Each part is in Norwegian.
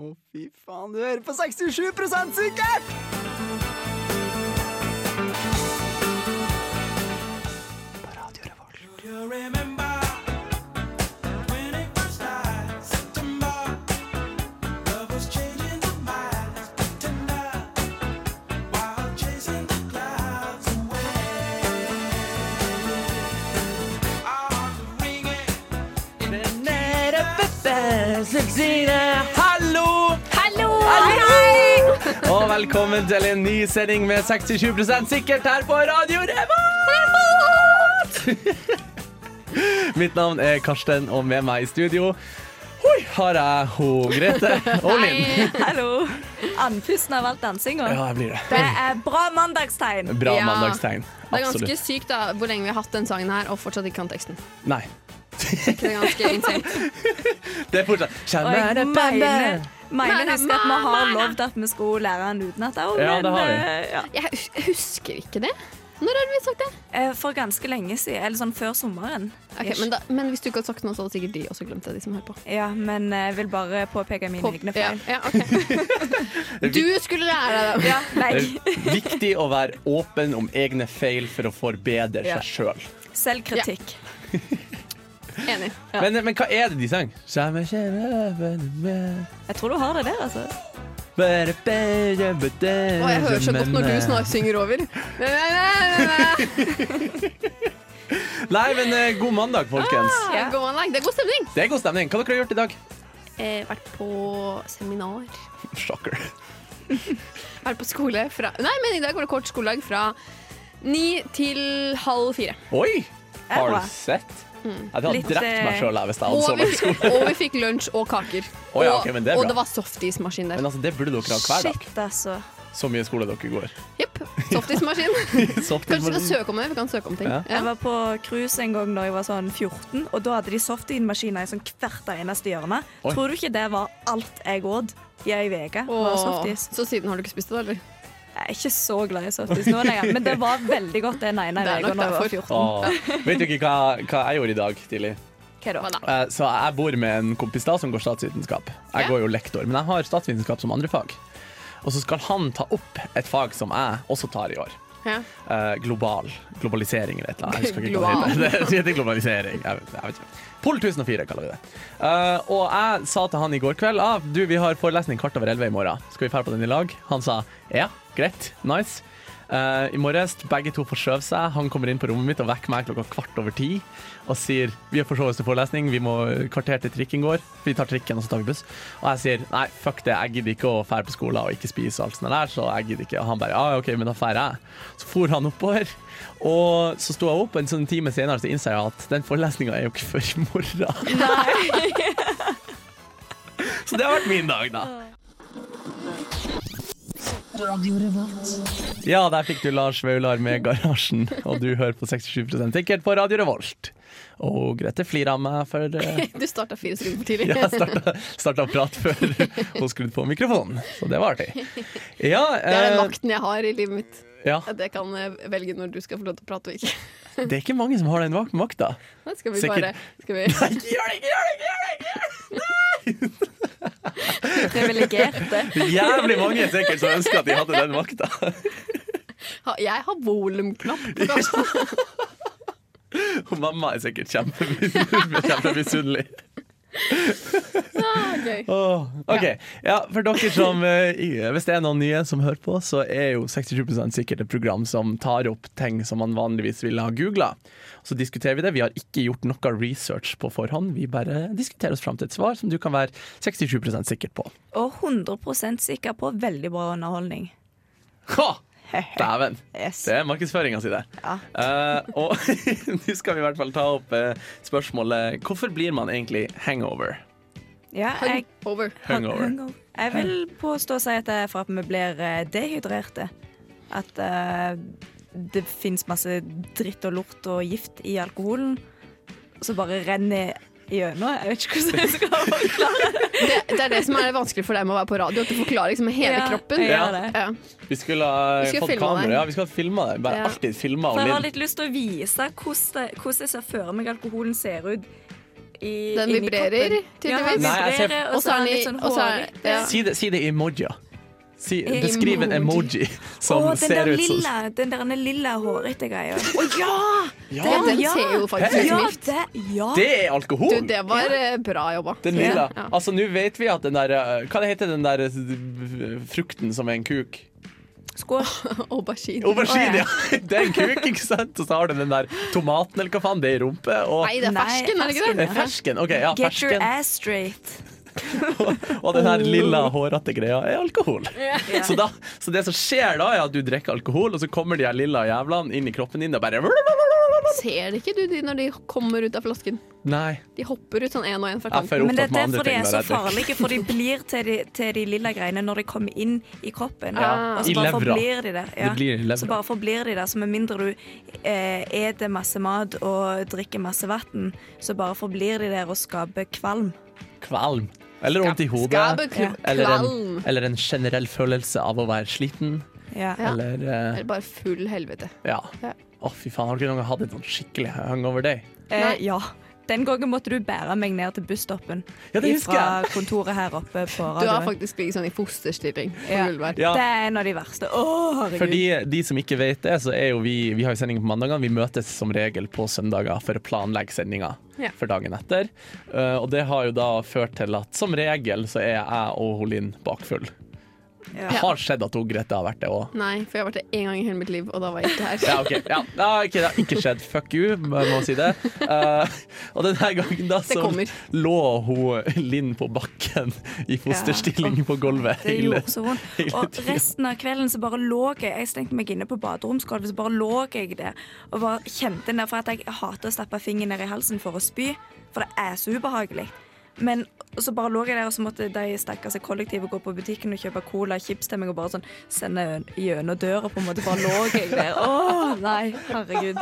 Å, fy faen, du hører på 67 sikkert! På Radio Revolt. Hallo! Hallo! Hei, hei! Og velkommen til en ny sending med 67 sikkert her på Radio Revolt! Mitt navn er Karsten, og med meg i studio hoi, har jeg ho, Grete og Linn. Hallo. Andpusten av all dansinga. Ja, jeg blir det. Det er bra mandagstegn. Bra Ja. mandagstegn. Det er ganske Absolutt. sykt da, hvor lenge vi har hatt den sangen her og fortsatt ikke kan teksten. Nei. Det er ganske insane. Det er fortsatt Og jeg Kjenner mener, mener Mære, husker at vi har mære. lovd at vi skulle lære den utenat òg, Ja, det har vi. eh, ja. Jeg hus- husker ikke det. Når har vi sagt det? Eh, for ganske lenge siden, eller sånn før sommeren. Ok, men, da, men hvis du ikke hadde sagt noe, så hadde sikkert de også glemt det, de som hører på. Ja, men eh, jeg vil bare påpeke mine på egne ja, feil. ja, ok. Du skulle lære deg det. Ja, Det nei. er viktig å være åpen om egne feil for å forbedre Ja. seg sjøl. Selvkritikk. Enig. Men, men hva er det de sang? Samme kjenner jeg med Jeg tror du har det der, altså. Bare bedre, bedre, Og jeg hører så godt når du men- eh, snarsynger over. Nei, nei, nei, nei, nei. Nei, men eh, god Ah! mandag, folkens. Ja, Go on, like. Det er god stemning. Det er god stemning. Hva dere har dere gjort i dag? Eh, vært på seminar. Shocker. Vært på skole fra Nei, men i dag var det kort skoledag fra ni til halv fire. Oi! Har bra. du sett? Mm. Jeg hadde Litt, drept meg eh, sjøl hvis jeg Og hadde vi, sånn sko. og vi fikk lunsj og kaker. Å ja, Og- ok, men det er og bra. det var softismaskin der. Men altså, det burde dere ha hver dag. Shit, altså. Så mye skole dere går. Jepp. Softismaskin. Soft Kanskje vi skal information. søke om det? Vi kan søke om ting. Ja. Ja. Jeg var på cruise en gang da jeg var sånn 14, og da hadde de softin-maskiner i sånn hvert eneste hjørne. Oi. Tror du ikke det var alt jeg åt i ei uke? var Åh, softis? Så siden har du ikke spist det, da, eller? Jeg er ikke så glad i softis nå lenger, men det var veldig godt den ene Det er uka nok da jeg var derfor. 14. Åh. Vet du ikke hva, hva jeg gjorde i dag tidlig? Hva da? Hva da? Eh, Så jeg bor med en kompis da som går statsvitenskap. Jeg Ja. går jo lektor, men jeg har statsvitenskap som andrefag. Og så skal han ta opp et fag som jeg også tar i år. Ja. Eh, global. Globalisering eller et eller annet. Jeg husker ikke hva det heter. Det heter globalisering. Jeg vet, jeg vet ikke. Pol 1004 kaller vi det. Eh, og jeg sa til han i går kveld ah, du, vi har forelesning kvart over elleve i morgen. Skal vi dra på den i lag? Han sa ja, greit, nice. Eh, I morges begge to forskjøv seg. Han kommer inn på rommet mitt og vekker meg klokka kvart over ti og sier vi har forsovet oss til forelesning, vi må kvarter til trikken går. Vi tar trikken og så tar vi buss. Og jeg sier nei, fuck det, jeg gidder ikke å fære på skolen og ikke spise og alt sånt der, så jeg gidder ikke. Og han bare ja, OK, men da færer jeg. Så for han oppover, og så sto jeg opp, og en sånn time senere så innser jeg at den forelesninga er jo ikke før i morgen. Så det har vært min dag, da. Ja, der fikk du Lars Vaular med Garasjen, og du hører på 67 sikkert på Radio Revolt. Og Grete flirer av meg for eh, Du starta fire sekunder for tidlig. ja, jeg starta, starta prat før hun skrudde på mikrofonen, så det var artig. Ja, Det er den eh, makten jeg har i livet mitt. ja, At jeg kan eh, velge når du skal få lov til å prate og ikke. det er ikke mange som har den vak- makta. Da Skal vi Sikkert- bare skal vi, Ikke gjør det, ikke gjør det, ikke gjør det! ikke gjør det! Privilegerte. Jævlig mange sikkert som ønsker at de hadde den makta. ha, Jeg har volumknapp. på kanskje. Og mamma er sikkert kjempe- kjempemisunnelig. Ah, gøy. Åh, OK. Ja, for dere som eh, i- Hvis det er noen nye som hører på, så er jo 67 sikkert et program som tar opp ting som man vanligvis ville ha googla. Så diskuterer vi det. Vi har ikke gjort noe research på forhånd. Vi bare diskuterer oss fram til et svar som du kan være 67 sikker på. Og 100 sikker på veldig bra underholdning. Ha! Dæven. Yes. Det er markedsføringa si, det. Ja. Eh, og nå skal vi i hvert fall ta opp eh, spørsmålet Hvorfor blir man egentlig hangover? Ja, jeg, Over. Hungover. jeg vil påstå å si at det er for at vi blir eh, dehydrerte. At eh, det fins masse dritt og lort og gift i alkoholen som bare renner gjennom. Jeg vet ikke hvordan jeg skal forklare det. Det, det er det som er vanskelig for deg med å være på radio. At du forklarer liksom hele Ja, kroppen. jeg gjør det. Ja. Vi skulle ha Vi skulle fått filma kamera. det. Ja, vi skulle ha filma det. Bare Ja. alltid filma og For jeg lidd. har litt lyst til å vise hvordan, det- hvordan jeg ser for meg alkoholen ser ut i Den inni vibrerer, kroppen. tydeligvis. Nei, Ja, jeg ser- den vibrerer, og så er den litt sånn og så er- hårig. ja. Si det, si det i emojier. Si, beskriv en emoji som Å, den ser der ut som lilla, den der lilla hårete greia. Å ja! ja, ja! Den Ja. ser jo faktisk ut Hei. som Ja, gift. det, ja. Det er alkohol! Du, det var eh, bra jobba. Den lilla. Ja. Altså, nå vet vi at den der eh, Hva det heter den der eh, frukten som er en kuk? Squash. Aubergine. Aubergine, Å, ja. ja! Det er en kuk, ikke sant? Og så har du den der tomaten, eller hva faen, det er i rumpe, og Nei, det er Nei, fersken, er det ikke Eh, det? Fersken. OK, ja, Get your fersken. ass straight. Og den her lilla, hårete greia er alkohol. Ja. Så, da, så det som skjer da, er at du drikker alkohol, og så kommer de her lilla jævlene inn i kroppen din og bare Ser det ikke du de når de kommer ut av flasken? Nei. De hopper ut sånn én og én fra Jeg er kanten. for Men det opptatt er med andre derfor de ting. er når så jeg drikker. farlige, for de blir til de, til de lilla greiene når de kommer inn i kroppen. Ja. Og så I bare levra. forblir de der. Det blir i levra. Så bare forblir de der. Så med mindre du eh, eter masse mat og drikker masse vann, så bare forblir de der og skaper kvalm. Kvalm. Eller vondt i hodet. Skabe kvalm. Eller en, eller en generell følelse av å være sliten. Ja. Ja. Eller eh, Eller bare full helvete. Ja. Ja. Å, fy faen, har du noen gang hatt en sånn skikkelig hangover day? Eh, Nei. ja. Den gangen måtte du bære meg ned til busstoppen Ja, det husker fra kontoret her oppe på Du har radioen. faktisk ligget sånn i fosterstilling på Ja. gulvet her. Ja. Det er en av de verste. Å, herregud. For de, de som ikke vet det, så er jo vi Vi har jo sending på mandagene. Vi møtes som regel på søndager for å planlegge sendinga Ja. for dagen etter. Eh, og det har jo da ført til at som regel så er jeg og hun Linn bakfull. Ja. Det har skjedd at hun Grete har vært det òg. Nei, for jeg har vært det én gang i hele mitt liv, og da var jeg ikke her. Ja, ok. Ja. Ja, ok, det har ikke skjedd. Fuck you, må jeg si det. Eh, og denne gangen da så kommer. lå hun Linn på bakken i fosterstilling på gulvet. Det hele- gjorde så vondt. hele Og tiden. resten av kvelden så bare lå jeg Jeg stengte meg inne på baderomsgulvet, så bare lå jeg der og bare kjente den der for at jeg hater å stappe fingeren ned i halsen for å spy, for det er så ubehagelig. Men så bare lå jeg der, og så måtte de stakkars i kollektivet gå på butikken og kjøpe cola og chips til meg og bare sånn sende gjennom døra, på en måte. Bare lå jeg der. Å nei, herregud.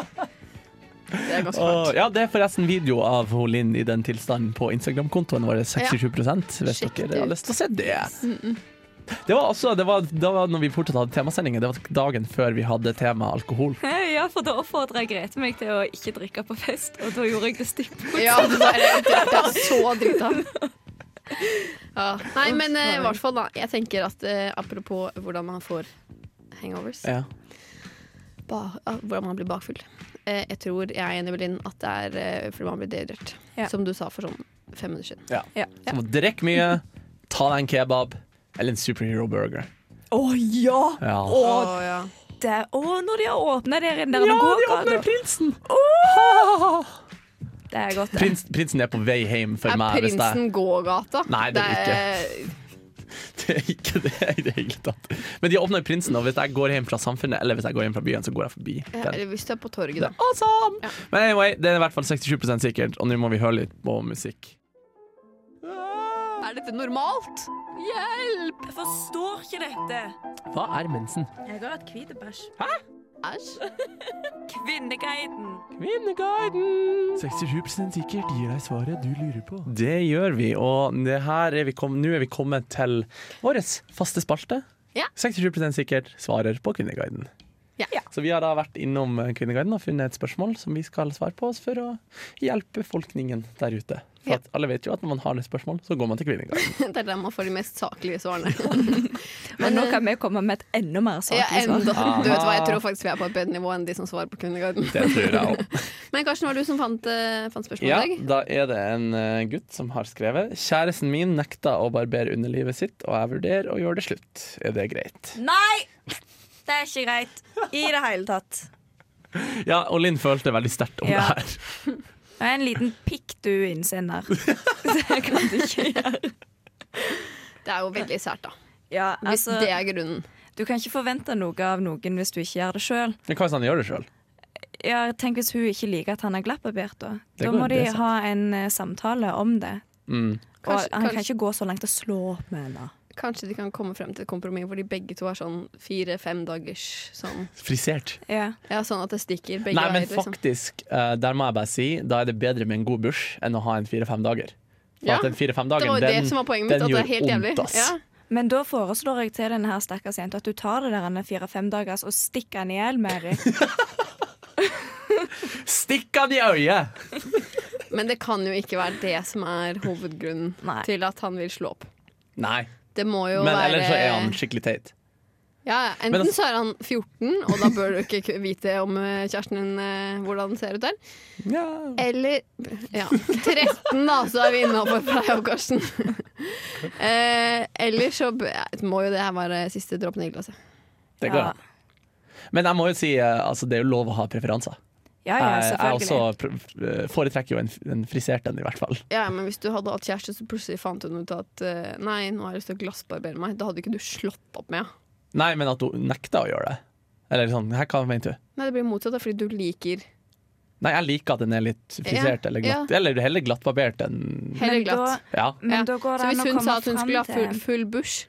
Det er ganske Og, fælt. ja, det er forresten video av hun Linn i den tilstanden på Instagram-kontoen vår. 67 Hvis Sjekk det dere har ut. lyst til å se det. Det var også, det var, da var når vi fortsatt hadde temasendinger. Det var dagen før vi hadde tema alkohol. Ja, for da oppfordra Grete meg til å ikke drikke på fest, og da gjorde jeg det stikk Ja, det er, det er så drita. Ja. Nei, men eh, i hvert fall, da. Jeg tenker at eh, apropos hvordan man får hangovers, Ja. ba, ja, hvordan man blir bakfull eh, Jeg tror jeg er enig med Linn at det er eh, fordi man blir dehydrert. Ja. Som du sa for sånn fem minutter siden. Ja. Så må drikk mye, ta deg en kebab eller en superhero burger. Å ja! Ja. Å, det, å, når de har åpna der inne der det går galt, og- prinsen! Det er godt, det. Prins, prinsen er på vei hjem for Er meg. Hvis det, prinsen gågata? Nei, det er det er ikke det i det hele tatt. Men de har åpna prinsen, og hvis jeg går hjem fra samfunnet eller hvis jeg går hjem fra byen, så går jeg forbi. Ja, den. eller hvis du er på torget, da. Awesome! Ja. Men anyway, det er i hvert fall 67 sikkert, og nå må vi høre litt på musikk. Er dette normalt? Hjelp! Jeg forstår ikke dette. Hva er mensen? Jeg har hatt hvit bæsj. Æsj. Kvinneguiden. Kvinneguiden! 67 sikkert gir deg svaret du lurer på. Det gjør vi, og det her er vi kom, nå er vi kommet til vår faste spalte. Ja. 67 sikkert svarer på Kvinneguiden. Ja. Ja. Så vi har da vært innom eh, Kvinneguiden og funnet et spørsmål som vi skal svare på for å hjelpe befolkningen der ute. For Ja. at alle vet jo at når man har det spørsmål, så går man til Kvinneguiden. Det er der man får de mest saklige svarene. Men nå kan vi komme med et enda mer Ja, saklig enda. svar. Aha. Du vet hva, jeg tror faktisk vi er på et bedre nivå enn de som svarer på Kundegarden. Det tror jeg også. Men Karsten, var det du som fant, eh, fant spørsmålet Ja, i dag? da er det en eh, gutt som har skrevet Kjæresten min nekta å barbere underlivet sitt, og jeg vurderer å gjøre det slutt. Er det greit? Nei! Det er ikke greit i det hele tatt. Ja, og Linn følte veldig sterkt om Ja. det her. Det er en liten pikk du innsender. Det kan du ikke gjøre. Det er jo veldig sært, da. Ja, Hvis altså, det er grunnen. du kan ikke forvente noe av noen hvis du ikke gjør det sjøl. Men hva hvis han gjør det sjøl? Ja, tenk hvis hun ikke liker at han har glattbarbert, da. Det Da går- må de det er sant. ha en eh, samtale om det. Mm. Og Kanskje- han kan kanskje- ikke gå så langt og slå opp med henne. Kanskje de kan komme frem til et kompromiss hvor de begge to er sånn fire-fem dagers sånn. Frisert. Ja. Ja, sånn at det stikker begge Nei, men veier, liksom. faktisk, eh, der må jeg bare si da er det bedre med en god bursj enn å ha en fire-fem dager. For Ja, at den fire-fem Det dagen, var jo det den, som var poenget mitt, den at det er gjør helt jævlig. vondt, ass. Ja. Men da foreslår jeg til denne her stakkars jenta at du tar det der fire-fem dagers og stikker den i hjel, Mary. Stikk han i øyet! Men det kan jo ikke være det som er hovedgrunnen Nei. til at han vil slå opp. Nei, Det må jo men være ellers så er han skikkelig teit. ja, ja, Men Enten altså- så er han 14, og da bør du ikke ku- vite om eh, kjæresten din eh, hvordan den ser ut der. Ja. Eller ja, 13, da, så er vi innafor for deg og Karsten. eh, eller så b- må jo det her være siste dråpen i glasset. Det går an. Men jeg må jo si eh, altså, det er jo lov å ha preferanser. Ja, ja, Jeg, altså- jeg selvfølgelig. også pr- foretrekker jo en, en frisert en, i hvert fall. Ja, men Hvis du hadde hatt kjæreste, så plutselig fant hun ut at eh, Nei, nå har jeg lyst til å glassbarbere meg. Da hadde ikke du slått opp med henne. Nei, men at hun nekter å gjøre det. Eller sånn, her, hva mener du? Nei, det blir motsatt, da, fordi du liker Nei, jeg liker at den er litt frisert Ja, eller glatt. Eller heller glattbarbert enn heller Men da- glatt. Ja. Men Ja. da går Så det an hvis å hun sa komme at hun fram skulle ha full, til full bush,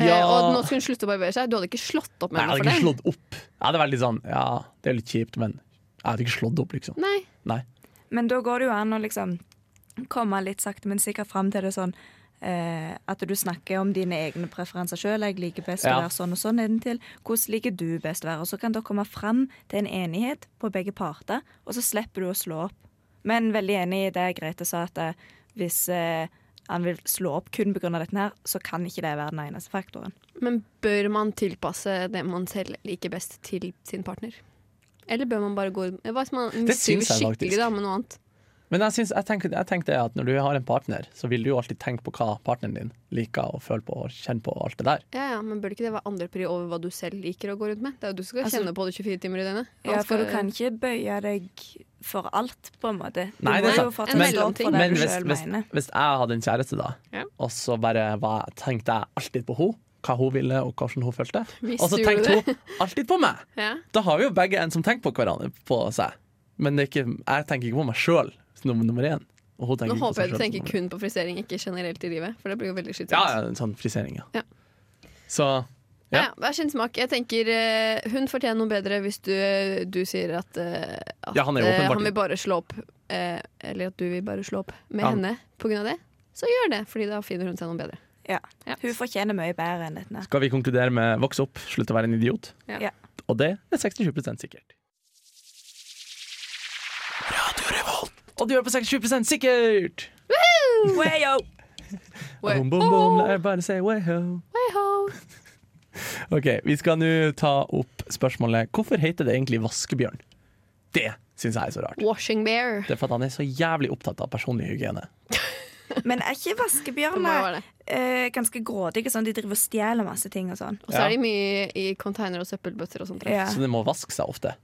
eh, Ja. og nå skulle hun slutte å barbere seg Du hadde ikke slått opp Nei, med jeg hadde henne ikke for det? slått opp. Jeg hadde vært litt sånn Ja, det er litt kjipt, men jeg hadde ikke slått opp, liksom. Nei. Nei. Men da går det jo an å liksom komme litt sakte, men sikkert fram til det sånn eh, at du snakker om dine egne preferanser sjøl. Jeg liker best å Ja. være sånn og sånn nedentil. Hvordan liker du best å være? Og så kan dere komme fram til en enighet på begge parter, og så slipper du å slå opp. Men veldig enig i det Grete sa, at eh, hvis eh, han vil slå opp kun pga. dette her, så kan ikke det være den eneste faktoren. Men bør man tilpasse det man selv liker best, til sin partner? Eller bør man bare gå Hva hvis man misliker syns jeg skikkelig faktisk. da med noe annet? Men jeg, syns- jeg, tenker, jeg tenker det at når du har en partner, så vil du jo alltid tenke på hva partneren din liker og føler på og kjenner på og alt det der. Ja, ja, Men bør ikke det være andrepri over hva du selv liker å gå rundt med? Det er jo du som skal Altså- kjenne på det 24 timer i døgnet. Han Ja, for skal- du kan ikke bøye deg for alt, på en måte. Du Nei, det er må jo sant. fortsatt stå opp for En mellomting. det Men du hvis, sjøl hvis, mener. hvis jeg hadde en kjæreste, da, Ja. og så bare var, tenkte jeg alltid på henne, hva hun ville og hvordan hun følte, Hvis og så du tenkte gjorde hun alltid på meg, Ja. da har vi jo begge en som tenker på hverandre på seg. Men det er ikke, jeg tenker ikke på meg sjøl som nummer, nummer én. Og hun tenker ikke Nå på håper seg selv jeg du som tenker nummer- kun på frisering, ikke generelt i livet. For det blir jo veldig slitsomt. Ja, ja, en sånn frisering, ja. Ja. Så Ja. Ja, Hver sin smak. Jeg tenker eh, Hun fortjener noe bedre hvis du, du sier at, eh, at Ja, han er jo eh, åpenbart- han vil bare slå opp eh, Eller at du vil bare slå opp med Ja. henne på grunn av det. Så gjør det, Fordi da finner hun seg noe bedre. Ja. Ja. Hun fortjener mye bedre enn dette. skal vi konkludere med voks opp, slutt å være en idiot. Ja. Ja. Og det er 67 sikkert. Og du er på 67 sikkert! Wayo! Oi. Bom, bom, bom, Oh, la jeg bare si wow. hei ho. Ok, Vi skal nå ta opp spørsmålet hvorfor heter det egentlig vaskebjørn. Det syns jeg er så rart. Washing bear. Det er for at han er så jævlig opptatt av personlig hygiene. Men er ikke Det må jo være vaskebjørner det. eh, ganske grådige? Sånn, de driver og stjeler masse ting og sånn. Og så Ja. er de mye i container og søppelbøtter og sånt. Ja. Så det må vaske seg ofte.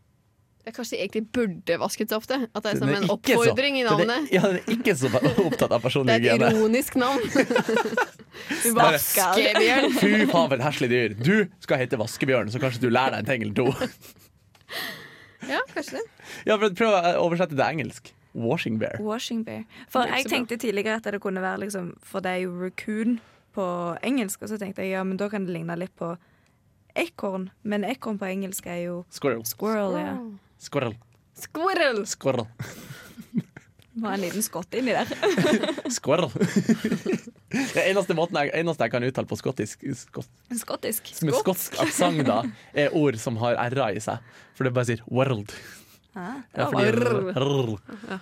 Jeg kanskje de egentlig burde vasket seg ofte. At det er som Den er en ikke så- oppfordring i den er- navnet. Ja, den er ikke så opptatt av Det personlig er et hygiene. ironisk navn. Bare- Vaskebjørn. Fy faen, for et heslig dyr. Du skal hete Vaskebjørn, så kanskje du lærer deg en ting eller to. Ja, kanskje det. Ja, men Prøv å oversette det til engelsk. Washing bear. Washing bear. For Det er ikke jeg så bra. tenkte tidligere at det kunne være liksom, For det er jo raccoon på engelsk, og så tenkte jeg ja, men da kan det ligne litt på ekorn. Men ekorn på engelsk er jo Squirrel. squirrel, ja. Squirrel. Squirrel. Squirrel. Må ha en liten skott inni der. Squirrel. Det eneste, måten jeg, eneste jeg kan uttale på skottisk skot, Skottisk. med skotsk aksent, da, er ord som har r-a i seg. For det bare sier world. Ja. Ja, fordi- Rrr. Rrr.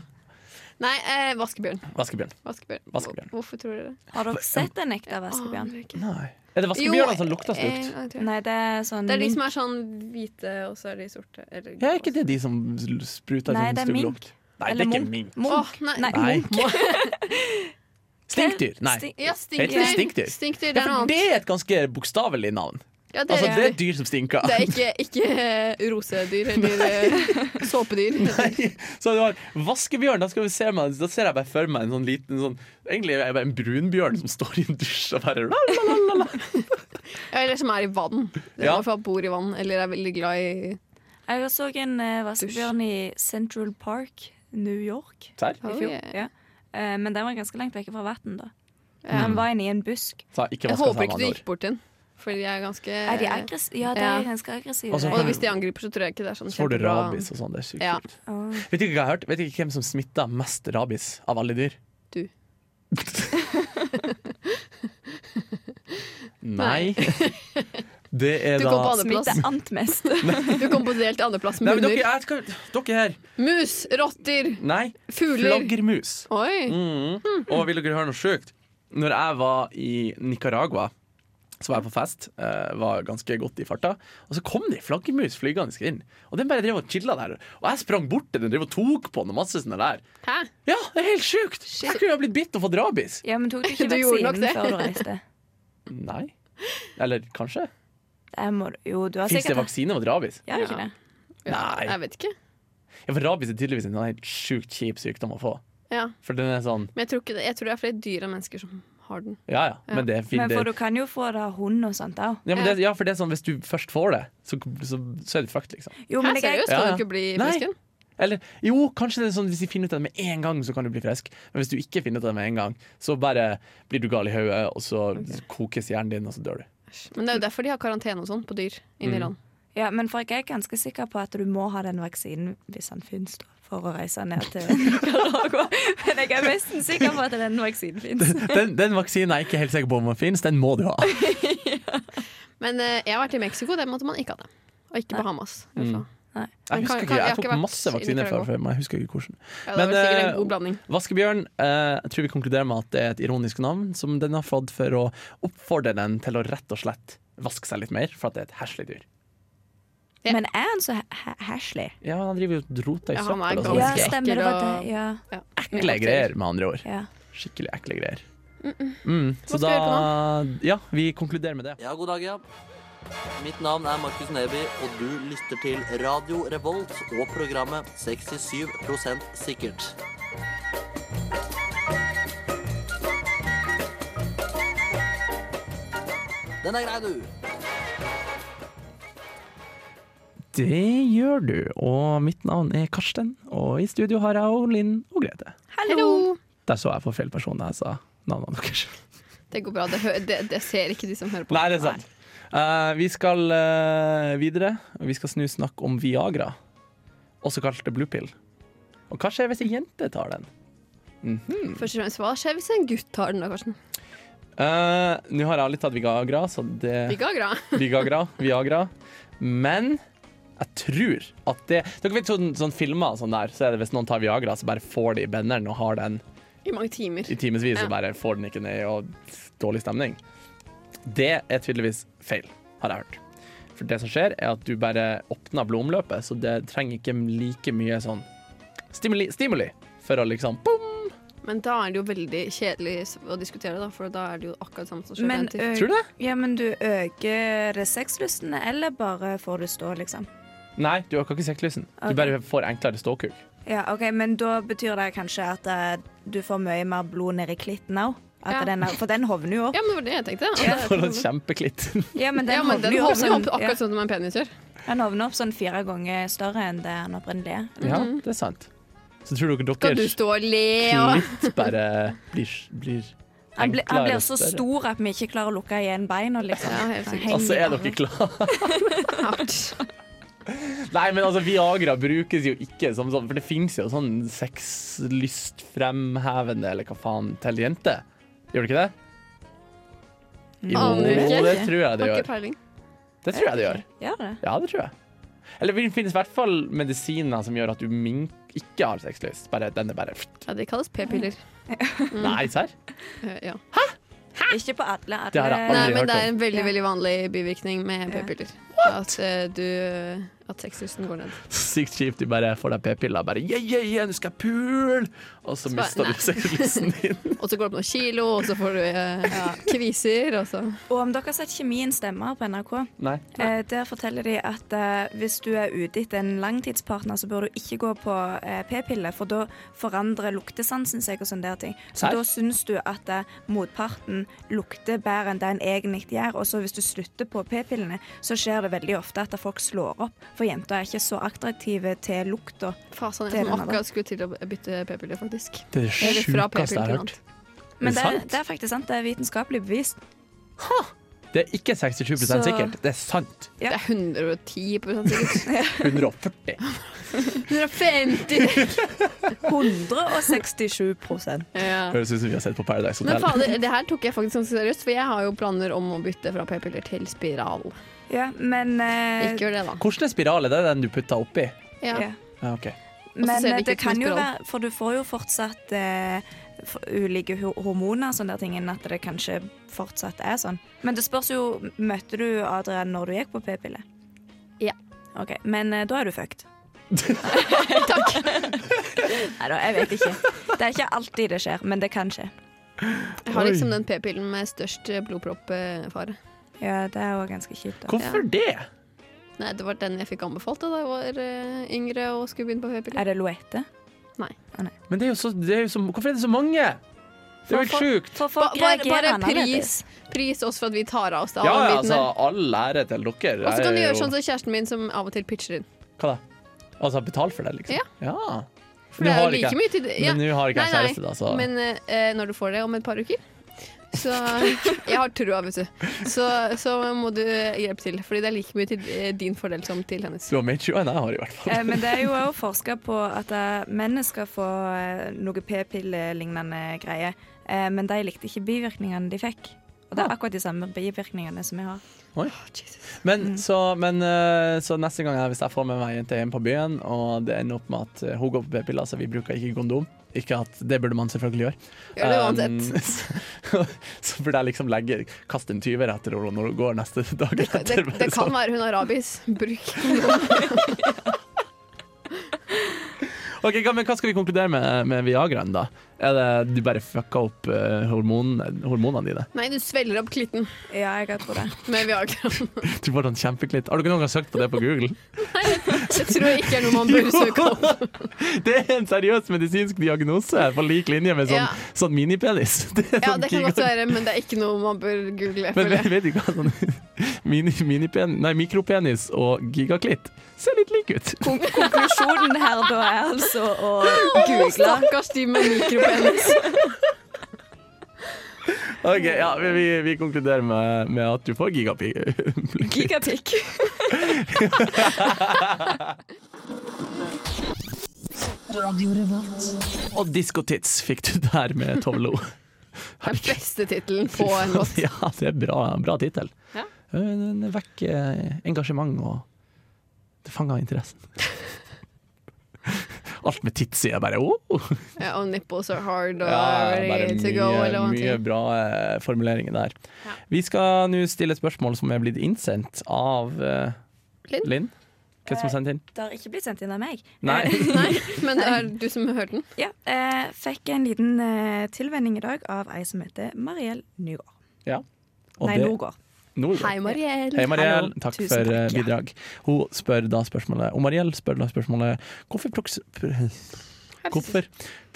Nei, eh, vaskebjørn. Vaskebjørn. vaskebjørn. Vaskebjørn. Hvor- Hvorfor tror dere det? Har dere sett en ekte vaskebjørn? Aner ikke. Nei. Er det Jo, vaskebjørner som lukter eh, stygt? ja, jeg tror det. Nei, det er sånn Det er de mink. som er sånn hvite, og så er de sorte. Eller Ja, er ikke det de som spruter Nei, sånn det er stygg mink. lukt? Nei, det er Eller ikke munk. mink. Munk. Åh, nei. Nei. Nei. Stinkdyr. Nei. Stink- Ja, Heter stinkdyr. det stinkdyr? Stinkdyr, det Ja, er noe for det annet. er et ganske bokstavelig navn. Ja, det, Altså, er, det er dyr som stinker. det er ikke, ikke eh, rosedyr eller eh, såpedyr. Nei. Så du har vaskebjørn. Da, skal vi se meg, da ser jeg bare for meg en sånn liten sånn, Egentlig er det bare en brunbjørn som står i en dusj og bare Eller som er i vann. Det er Ja. i hvert fall bor i vann, eller er veldig glad i Jeg så en eh, vaskebjørn i Central Park, New York. Serr? i Oh, fjor. yeah. ja. Eh, men den var ganske langt vekk fra vann, da. Ja. Den var inne i en busk. Så ikke Jeg vaska seg håper ikke med du andre gikk ord. bort til den, for de er ganske Er de aggress ja, de Eh, Ja. er ganske aggressive. Og så- de. Og hvis de angriper, så tror jeg ikke det er sånn Så får du kjempebra- rabies og sånn. Det er sykt Ja. kult. Åh. Vet du ikke hva jeg har hørt? Vet du ikke hvem som smitta mest rabies av alle dyr? Du. Nei. Det er Du da går på andre- Smitte ant mest. Du kom på delt andreplass Nei, men med dere, Mm. hunder. jeg skal, dere her Mus, rotter, Nei, fugler. flaggermus. Oi. Mm. Og vil dere høre noe sjukt? Når jeg var i Nicaragua, så var jeg på fest. eh, var ganske godt i farta. Og så kom det ei flaggermus flygende inn. Og den bare drev og chilla der. Og jeg sprang bort til den, drev og tok på den og masse sånne der. Hæ? Ja, det er helt sjukt! Jeg kunne ha blitt bitt og fått rabies. Ja, men tok du ikke Du gjorde nok vaksinen det. før du reiste? Nei. Eller kanskje? Det må, du- jo, du har Fins det sikkert vaksine mot rabies? Ja, ikke det? Nei. Jeg vet ikke. Ja, for rabies er tydeligvis en sånn helt sjukt kjip sykdom å få. Ja. For den er sånn Men jeg tror, ikke det. jeg tror det er flere dyr enn mennesker som har den. Ja ja, men det er fint. Men for det- du kan jo få det av hund og sånt òg. Ja, men det, ja, for det er sånn hvis du først får det, så, så, så er du fucked, liksom. Jo, Hæ, men jeg, seriøst? Ja, Kan ja. du ikke bli Nei. frisken? Eller jo, kanskje det er sånn hvis de finner ut av det med en gang, så kan du bli frisk. Men hvis du ikke finner ut av det med en gang, så bare blir du gal i hodet, og så kokes hjernen din, og så dør du. Men det er jo derfor de har karantene og sånn på dyr inne i Mm. land. ja, men for jeg er ganske sikker på at du må ha den vaksinen hvis den finnes, da. For å reise ned til Nicaragua. Men jeg er nesten sikker på at den vaksinen fins. Den, den vaksinen er jeg ikke helt sikker på om den finnes, den må du ha. Men eh, jeg har vært i Mexico, der måtte man ikke ha det. Og ikke Bahamas. i Mm. hvert fall. Men Jeg kan- husker kan- ikke, jeg har jeg ikke tok vært masse i vaksiner Nicaragua. før, men jeg husker ikke hvordan. Ja, det Men, var sikkert eh, en god blanding. Vaskebjørn, eh, jeg tror vi konkluderer med at det er et ironisk navn som den har fått for å oppfordre den til å rett og slett vaske seg litt mer, for at det er et heslig dyr. Ja. Men er han så ha- heslig? Ja, han driver jo og roter i Ja, han er søppel og ganske- sånn. Ja, Ganske stemmer det. ekkel var og- det. Ja, Ja. Ekle greier, med andre ord. ja. Skikkelig ekle greier. Mm, så Hva skal vi gjøre da Ja, vi konkluderer med det. Ja, god dag, ja. Mitt navn er Markus Neby, og du lytter til Radio Revolt og programmet 67 sikkert. Den er grei, du. Det gjør du. Og mitt navn er Karsten, og i studio har jeg og Linn og Grete. Hallo! Der så jeg på feil person da jeg sa navnene deres. Det går bra. Det, hø det, det ser ikke de som hører på. Nei, det er sant. Eh, vi skal eh, videre. Vi skal snu snakk om Viagra, også kalt blue pill. Og hva skjer hvis ei jente tar den? Først og fremst, hva skjer hvis en gutt tar den da, Karsten? Eh, Nå har jeg aldri tatt Viagra, så det Ikke agra. Viagra, Viagra. Men jeg tror at det Dere vet sånn, sånn filmer og sånn der, så er det hvis noen tar Viagra, så bare får de benderen og har den I mange timer. i timevis Ja. og bare får den ikke ned og dårlig stemning. Det er tydeligvis feil, har jeg hørt. For det som skjer, er at du bare åpner blodomløpet, så det trenger ikke like mye sånn stimuli, stimuli for å liksom boom. Men da er det jo veldig kjedelig å diskutere, da, for da er det jo akkurat samme som skjer. Men, med en til. ø- Tror du det? ja, men du øker det sexlysten, eller bare får du stå, liksom? Nei, du øker ikke sekklysen. Ok. Du bare får enklere ståkuk. Ja, ok, Men da betyr det kanskje at eh, du får mye mer blod nedi klitten òg? Ja. For den hovner jo opp. Ja, men det var det jeg tenkte. At det er- For en kjempeklitt. Ja, men den ja, men hovner den jo opp hovner jo sånn, opp ja, akkurat sånn som en penis gjør. den hovner opp sånn fire ganger større enn det han opprinnelig er. Ja, det er sant. Så tror dere Kan du deres stå og le og klitt bare blir, blir Han, blir- han enklere blir og så større? stor at vi ikke klarer å lukke igjen beina. Liksom. Ja, helt Han sikkert. henger Altså, i er armen. dere klare? hardt? Nei, men altså, Viagra brukes jo ikke som sånn, for det fins jo sånn sexlystfremhevende, eller hva faen, til jenter. Gjør det ikke det? Jo, Aner ikke. det tror jeg det Har ikke gjør. peiling. Det tror jeg det gjør. Gjør det? Ja, det tror jeg. Eller det finnes i hvert fall medisiner som gjør at du mink ikke har sexlyst. Bare, den er bare Ja, de kalles p-piller. Nei, serr? Eh, Ja. Ikke på alle. Det har alle jeg Nei, Aldri men hørt det er en veldig Ja. veldig vanlig bivirkning med Ja. p-piller. At eh, du At sexlysten går ned. Sykt kjipt. Du bare får deg p-piller. Bare yeah, yeah, yeah, nå skal jeg pule! Og så Så bare, mister nei. du sexlysten din. Og så går det opp noen kilo, og så får du eh, kviser, og så Og om dere har sett Kjemien stemmer på NRK, Nei. eh, der forteller de at eh, hvis du er ute etter en langtidspartner, så bør du ikke gå på eh, p-piller, for da forandrer luktesansen seg og sånne der ting. Så Serr? da syns du at eh, motparten lukter bedre enn det en egentlig gjør, og så hvis du slutter på p-pillene, så skjer det veldig ofte at folk slår opp, for jenter er ikke så attraktive til lukta. Fasan, Det er sånn, jeg den, som da. akkurat skulle til å bytte p-piller, faktisk. Det Eller fra sjukeste jeg har p-piller hørt. Men det det, sant? er- det er faktisk sant, det er vitenskapelig bevist. Det er ikke 67 Så- sikkert, det er sant. Ja. Det er 110 sikkert. 140. 150! 167 Ja. Høres ut som vi har sett på Paradise Men Hotel. fader, det her tok jeg faktisk ganske seriøst, for jeg har jo planer om å bytte fra p-piller til spiral. Ja, men eh, Ikke gjør det, da. Hvordan spiral er det den du putter oppi? Ja. ja. Ja, ok. Og så Men ser det eh, ikke det ut som kan jo en spiral. være For du får jo fortsatt eh, f- ulike ho- hormoner og sånne der ting, enn at det kanskje fortsatt er sånn. Men det spørs jo Møtte du Adrian når du gikk på p-pille? Ja. OK. Men eh, da er du fucked. Takk. Nei da, jeg vet ikke. Det er ikke alltid det skjer, men det kan skje. Jeg har Oi. liksom den p-pillen med størst eh, blodproppfare. Ja, det er jo ganske kjipt. da. Hvorfor det? Nei, det var den jeg fikk anbefalt da jeg var eh, yngre og skulle begynne på p-piller. Er det Loete? Men det er jo så, det er jo så Hvorfor er det så mange? Det er jo helt sjukt. For Ba- folk bare- reagerer bare annerledes. Pris oss for at vi tar av oss det. Ja, all ja, biten altså, der. all ære til dere. og så kan du Jeg er gjøre jo- sånn som kjæresten min, som av og til pitcher inn. Hva da? Altså betal for det, liksom? Ja. For Nå det er har jo like ikke- mye til det. Ja. Men nå har ikke jeg Nei, nei, kjæreste, da, så Men eh, når du får det om et par uker så Jeg har trua, vet du. Så, så må du hjelpe til. Fordi det er like mye til eh, din fordel som til hennes. du har mer tjue enn jeg har, i hvert fall. Eh, Men det er jo òg forska på at eh, menn skal få eh, noe p-pille-lignende greier. Eh, Men de likte ikke bivirkningene de fikk. Og det er akkurat de samme bivirkningene som jeg har. Mm. Men, så, men eh, så neste gang jeg, hvis jeg får med meg ei jente hjem på byen, og det ender opp med at eh, hun går på p-piller, så vi bruker ikke kondom Ikke at Det burde man selvfølgelig gjøre. Gjør det Um, uansett. så, så burde jeg liksom legge kaste en tyver etter henne når hun går neste dag. Det, etter, det, bare det kan sånn. være hun har rabies. Bruk Ok, hva- men Hva skal vi konkludere med med Viagraen, da? Er det du bare fucka opp eh, hormonene, hormonene dine? Nei, du svelger opp klitten Ja, jeg tror det. med Viagra. Du får sånn kjempeklitt. Har du ikke noen gang søkt på det på Google? Det tror jeg ikke er noe man bør søke opp. Det er en seriøs medisinsk diagnose på lik linje med sånn, Ja. sånn minipenis. Det er Ja, sånn det kan godt giga- være, men det er ikke noe man bør google. Men føler vet, jeg. vet du hva sånn mini, minipen, nei, mikropenis og gigaklitt ser litt like ut. Kon konklusjonen her da er altså å Å, google. Stakkars de med mikropenis. Ok, ja, vi, vi- vi konkluderer med, med at du får gigapi... Gigapikk. Og diskotits fikk du der med Tove Lo. Den beste tittelen på en låt. Ja, det er bra, bra tittel. Eh, Ja. Den vekker eh, engasjement, og det fanger interessen. Alt med tits i er bare oh. Ja, og nipples are hard og Ja, bare ready to mye, go. Eller hva han mye sier. bra eh, formuleringer der. Ja. Vi skal nå stille et spørsmål som er blitt innsendt av eh, Linn? Eh, Linn. Hva som er sendt inn? Det har ikke blitt sendt inn av meg. Nei. Nei, men det er du som har hørt den. Ja, eh, fikk en liten eh, tilvenning i dag av ei som heter Mariell Nygård. Ja. Og Nei, det- Nogård. Nordgård. Hei, Mariell. Hei, Mariell. Hallo. Takk Tusen for eh, takk, ja. bidrag. Hun spør da spørsmålet Og Mariell spør da spørsmålet Hvorfor, proks pr hvorfor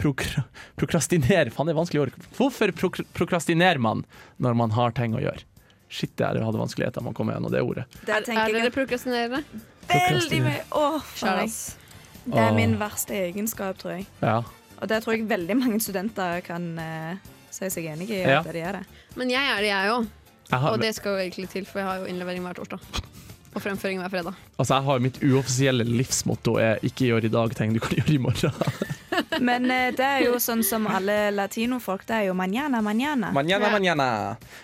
prokra prokrastiner Faen, det er vanskelig ord. Hvorfor prok prokrastinerer man når man har ting å gjøre? Shit, jeg hadde vanskeligheter med å komme gjennom det ordet. Der Er tenker dere jeg prokrastinerende? veldig mye Åh, Skjær, faen, jeg. ass. Det er Åh. min verste egenskap, tror jeg. Ja. Og det tror jeg veldig mange studenter kan eh, si seg enig i. Ja. at de er det. Men jeg er det, jeg òg. Jeg har, Og det skal jo egentlig til, for jeg har jo innlevering hver torsdag. Og fremføring hver fredag. Altså, jeg har mitt uoffisielle livsmotto er 'ikke gjør i dag ting du kan gjøre i morgen'. Men eh, det er jo sånn som alle latinofolk. Det er jo manjana, manjana. Manjana, Ja. manjana.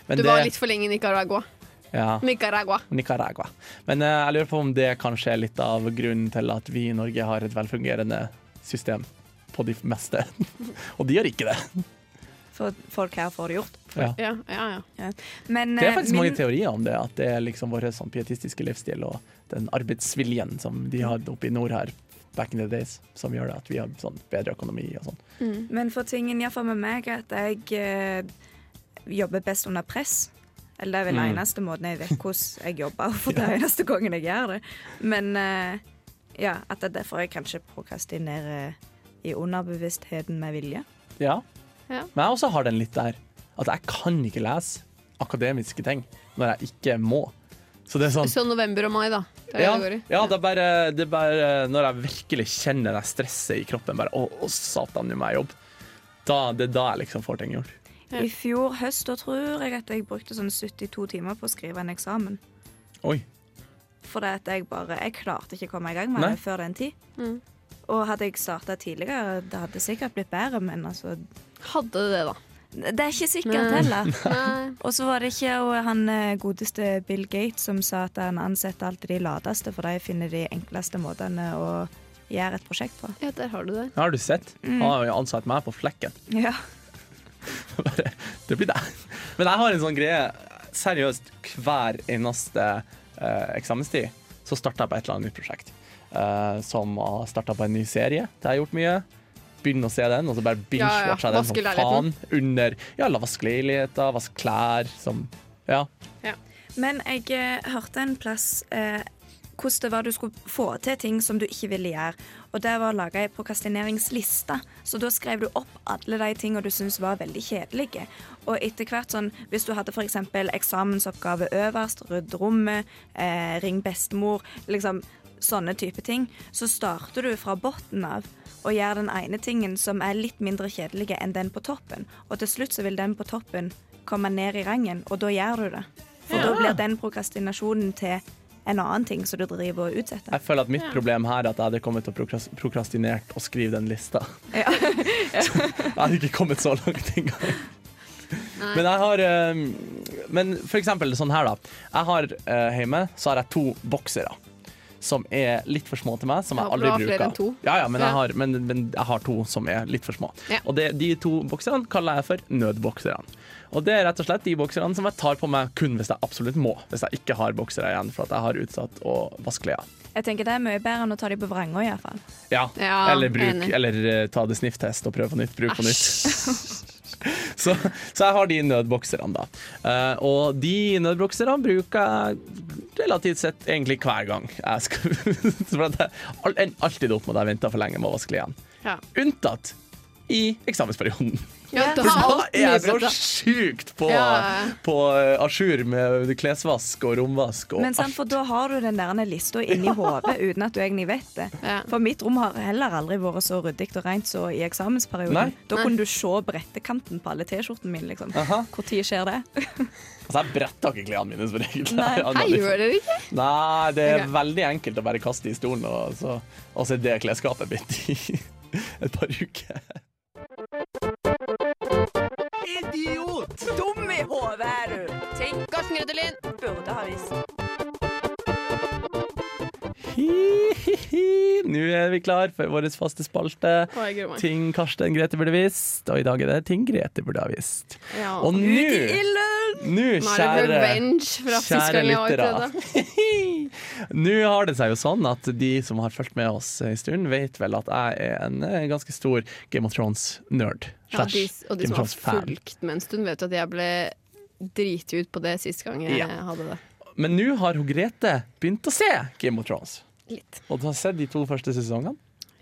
Men Du var det- litt for lenge i Nicaragua. ja, Nicaragua. Nicaragua. Men eh, jeg lurer på om det kanskje er litt av grunnen til at vi i Norge har et velfungerende system på de meste. Og de gjør ikke det. For folk her får det gjort. Ja. Ja, ja, ja. Ja. Men, Det er eh, faktisk min- mange teorier om det, at det er liksom vår sånn pietistiske livsstil og den arbeidsviljen som de hadde oppe i nord her back in the days, som gjør det at vi har sånn bedre økonomi og sånn. Men for tingen iallfall med meg er at jeg eh, jobber best under press. Eller det er vel den Mm. eneste måten jeg vet hvordan jeg jobber, for det er eneste gangen jeg gjør det. Men eh, ja, at det er derfor jeg kanskje prokrastinerer i underbevisstheten med vilje. Ja. Ja. Men jeg også har den litt der. At jeg kan ikke lese akademiske ting når jeg ikke må. Så det er sånn Så november og mai, da. Det er det ja, det går i. ja, det er bare, det er bare når jeg virkelig kjenner det stresset i kroppen. Bare, å, å satan, nå må jeg jobbe. Da, det er da jeg liksom får ting gjort. I fjor høst da tror jeg at jeg brukte sånn 72 timer på å skrive en eksamen. Oi. Fordi at jeg bare Jeg klarte ikke å komme i gang med Nei. det før den tid. Mm. Og hadde jeg starta tidligere, det hadde sikkert blitt bedre, men altså Hadde det, da. Det er ikke sikkert Nei. heller. Nei. Og så var det ikke og han eh, godeste Bill Gates som sa at han ansetter alltid de lateste, for de finner de enkleste måtene å gjøre et prosjekt på. Ja, der har du det. Har du sett? Mm. Han har jo ansatt meg på flekken. Ja. Bare, det blir deg. Men jeg har en sånn greie Seriøst, hver eneste eh, eksamenstid så starter jeg på et eller annet nytt prosjekt. Eh, som har starta på en ny serie. Det har jeg gjort mye. Begynner å se den, og så bare Ja, ja. binge-watcher jeg den Vaske som faen. leiligheten. Under Ja, la vaske leiligheter, vaske klær som Ja. Men jeg eh, hørte en plass eh, hvordan det var du skulle få til ting som du ikke ville gjøre. Og det var å lage ei prokrastineringsliste. Så da skrev du opp alle de tingene du syntes var veldig kjedelige. Og etter hvert sånn, hvis du hadde f.eks. eksamensoppgave øverst, rydd rommet, eh, ring bestemor, liksom sånne type ting, så starter du fra bunnen av. Og gjør den ene tingen som er litt mindre kjedelig enn den på toppen. Og til slutt så vil den på toppen komme ned i rangen, og da gjør du det. For da blir den prokrastinasjonen til en annen ting som du driver og utsetter. Jeg føler at mitt problem her er at jeg hadde kommet og prokras prokrastinert og skrive den lista. jeg hadde ikke kommet så langt engang. Men jeg har eh, Men for eksempel sånn her, da. Jeg har eh, hjemme så har jeg to boksere. Som er litt for små til meg, som jeg Ja, for du aldri har bruker. flere enn to. Ja, ja, men, Ja. Jeg har, men, men jeg har to som er litt for små. Ja. Og det, de to bokserne kaller jeg for nødbokserne. Og det er rett og slett de bokserne som jeg tar på meg kun hvis jeg absolutt må. Hvis jeg ikke har boksere igjen, for at jeg har utsatt å vaske klær. Jeg tenker Det er mye bedre enn å ta dem på vranga. i hvert fall. Ja, Ja, eller, bruk, enig. eller eh, ta det snifftest og prøve på nytt, bruk på nytt. Så, så jeg har de nødbokserne, da. Eh, og de nødbokserne bruker jeg relativt sett egentlig hver gang jeg skal For at jeg al- en- alltid opp med at jeg venter for lenge med å vaske klærne. Ja. Unntatt i eksamensperioden. Ja, da For da alt er jeg så nybretta. sjukt på, Ja. på eh, à jour med klesvask og romvask og Men sant, For da har du den der lista inni hodet uten at du egentlig vet det. Ja. For mitt rom har heller aldri vært så ryddig og rent så i eksamensperioden. Nei. Da kunne du se brettekanten på alle T-skjortene mine. liksom. Aha. Når skjer det? Altså, jeg bretter ikke klærne mine som regel. Nei. Jeg har Nei, aldri- gjør dere ikke? Nei, det er Ok. veldig enkelt å bare kaste i stolen, og så, og så er det klesskapet mitt i et par uker. Idiot! Dum i hodet er du! Ting Karsten Grudelin. burde ha visst. Hi-hi-hi. Nå er vi klar for vår faste spalte. Å, jeg gruer meg. Ting Karsten Grete burde visst, og i dag er det ting Grete burde ha visst. Ja. Og Nå nå, nå, er det kjære revenge fra sist gang jeg var ute. da. Nå har det seg jo sånn at de som har fulgt med oss en stund, vet vel at jeg er en eh, ganske stor Game of Thrones-nerd. Ja, slash de, og de Game som of har Thrones-fan. fulgt med en stund, vet jo at jeg ble driti ut på det sist gang jeg Ja. hadde det. Men nå har hun Grete begynt å se Game of Thrones. Litt. Og du har sett de to første sesongene.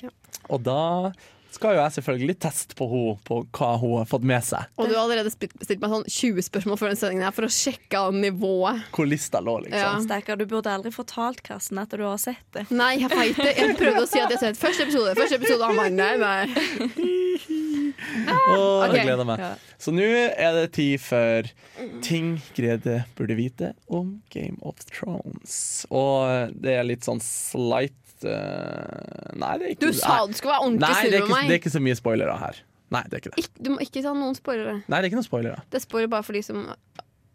Ja. Og da skal jo jeg selvfølgelig teste på henne på hva hun har fått med seg. Og du har allerede spilt- stilt meg sånn 20 spørsmål før den sendingen her for å sjekke av nivået. Hvor lista lå, Ja. liksom. Stakkar, du burde aldri fortalt Karsten at du har sett det. Nei, jeg veit det. Jeg prøvde å si at jeg har sett første episode, første episode, og han bare nei, nei. Åh, ok. jeg gleder meg. Ja. Så nå er det tid for ting Grete burde vite om Game of Thrones. Og det er litt sånn slight eh, Nei, det er ikke Du sa du skulle være ordentlig Nei, det er snill med ikke, det er meg. ikke så mye spoilere her. Nei, det er ikke det. Ikk- Du må ikke ta noen spoilere. Nei, det er ikke noen spoilere. Det spoiler bare for de som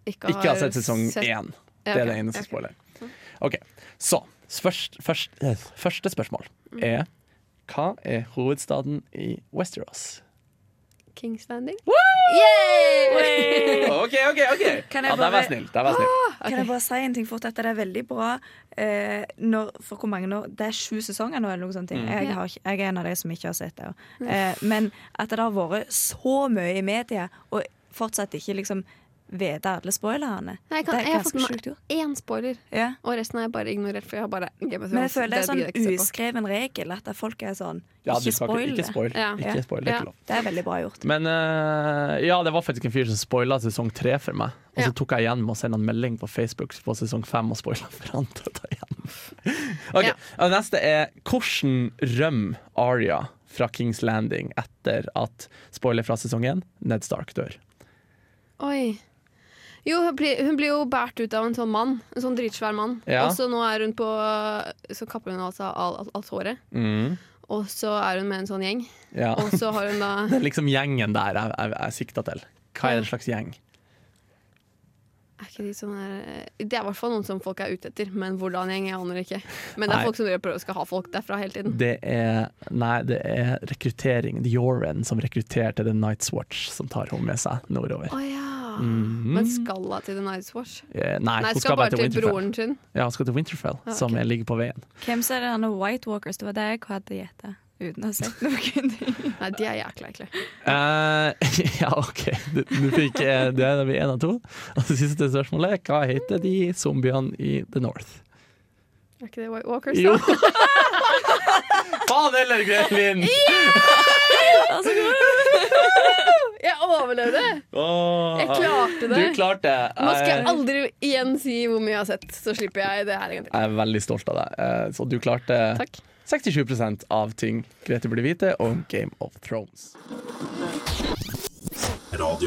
ikke har, Ikke har sett sesong sett- én. Ja, Det er ok, det eneste ok. Mm. spoiler. OK, så først, først, eh, første spørsmål Mm. er Hva er hovedstaden i Westeros? Kings Landing? OK, OK! ok Kan jeg ja, Der var bare- jeg snill. Der var jeg Ah, snill. Kan jeg bare si en ting fort? At det er veldig bra eh, når, For hvor mange år? Det er sju sesonger nå, eller noe sånt. Jeg, har, ikke- jeg er en av de som ikke har sett det. Eh, men at det har vært så mye i media, og fortsatt ikke liksom vite alle spoilerne. Nei, jeg, kan, det er jeg har fått ganske med sjukt gjort. meg én spoiler, Ja. og resten har jeg bare ignorert. For jeg har bare Game of Men jeg Thrones, føler det er gidder jeg sånn ikke se på. uskreven regel at folk er sånn Ja, du Ikke skal ikke- spoil Ikke det. spoil. Ja. Ikke spoil, det er Ja. ikke lov. Det er veldig bra gjort. Men eh, ja, det var faktisk en fyr som spoila sesong tre for meg. Og så Ja. tok jeg igjen med å sende en melding på Facebook på sesong fem og spoila for han til å ta igjen. Ok, Ja. og Neste er hvordan rømmer Aria fra Kings Landing etter at spoiler fra sesong én, Ned Stark dør? Oi. Jo, hun blir, hun blir jo båret ut av en sånn mann. En sånn dritsvær mann. Ja. Og så nå er hun på Så kapper hun altså alt, alt, alt håret. Mm. Og så er hun med en sånn gjeng. Ja. Og så har hun da Det er liksom gjengen der jeg, jeg, jeg sikta til. Hva er en slags gjeng? Er ikke de sånne her- Det er i hvert fall noen som folk er ute etter, men hvordan gjeng, jeg aner ikke. Men det Nei. er folk som driver og prøver å skal ha folk derfra hele tiden. Det er Nei, det er rekruttering. The Yoren som rekrutterte The Night's Watch, som tar henne med seg nordover. Å ja. Mhm. Men skal hun til The Night's Watch? Eh, Nei, Nei, hun skal bare til Winterfell. broren sin. Ja, hun skal til Winterfell, Ja, som Ah, ok. er- ligger på veien. Hvem sa det? Han er White Walkers. Det var det jeg hadde gjetta. Uten å ha sett noen ting. Nei, de er jækla ekle. Eh, ja, OK. Du, du fikk eh, Det er vi én av to. Og det siste spørsmålet Hva heter de zombiene i The North? Er ikke det White Walkers? Jo! da? Faen heller, Gretlin! Jeg overlevde! Åh, Jeg klarte det. Ah. Du klarte eh, det. Nå skal jeg aldri igjen si hvor mye jeg har sett, så slipper jeg det her en gang til. Jeg er veldig stolt av deg. Eh, Så du klarte Takk. 67 av ting Grete burde vite om Game of Thrones.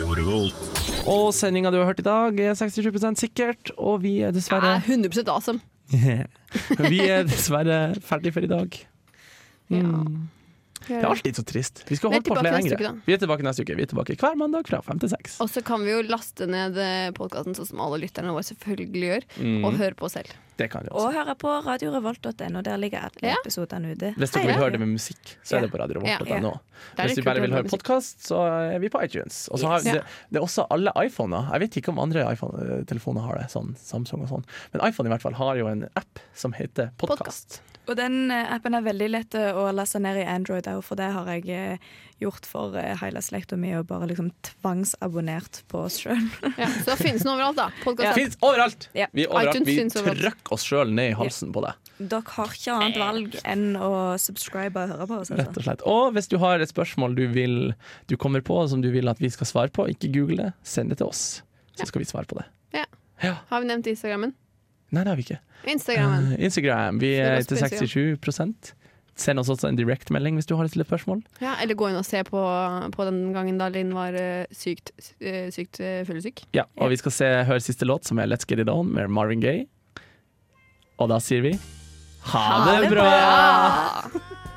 Og sendinga du har hørt i dag, er 67 sikkert, og vi er Jeg dessverre er 100 awesome. Vi er dessverre ferdig for i dag. Mm. Det er alltid så trist. Vi skal Vi er holde på tilbake flere neste uke, lenger. da. Vi er tilbake neste uke. Vi er tilbake hver mandag fra fem til seks. Og så kan vi jo laste ned podkasten sånn som alle lytterne våre selvfølgelig gjør, Mhm. og høre på selv. Mm, Det kan vi også. Og høre på radiorevolt.no. Der ligger alle Ja. episodene ute. Hvis dere Hei, vil ja. høre det med musikk, så er det på Radio Ja. Revolt.no. Der er Hvis det du bare kult å vil høre høre musikk. podkast, så er vi på iTunes. Og så har Yes. det, det er også alle iPhoner. Jeg vet ikke om andre iPhone-telefoner har det, sånn Samsung og sånn. Men iPhone i hvert fall har jo en app som heter Podkast. Og den eh, appen er veldig lett eh, å laste ned i Android òg, for det har jeg eh, gjort for eh, hele slekta mi, og bare liksom tvangsabonnert på oss sjøl. Ja, så da finnes den overalt, da. Det Podcast fins overalt! Ja. Vi, er overalt. iTunes vi finnes overalt. trykker oss sjøl ned i halsen på det. Dere har ikke annet valg enn å subscribe og høre på oss. Rett Altså. og slett. Og hvis du har et spørsmål du, vil, du kommer på som du vil at vi skal svare på, ikke google det, send det til oss. Så skal vi svare på det. Ja. Ja. Har vi nevnt Instagrammen? Nei, det har vi ikke. Instagrammen. Eh, Instagram. Vi er Følg oss til på Instagram. 67 Send oss også en direktmelding hvis du har et lille spørsmål. Ja, eller gå inn og se på, på den gangen da Linn var eh, sykt, eh, sykt eh, fyllesyk. Ja, og vi skal se, høre siste låt, som er Let's Get It On med Marvin Gaye. Og da sier vi ha det bra! Ja.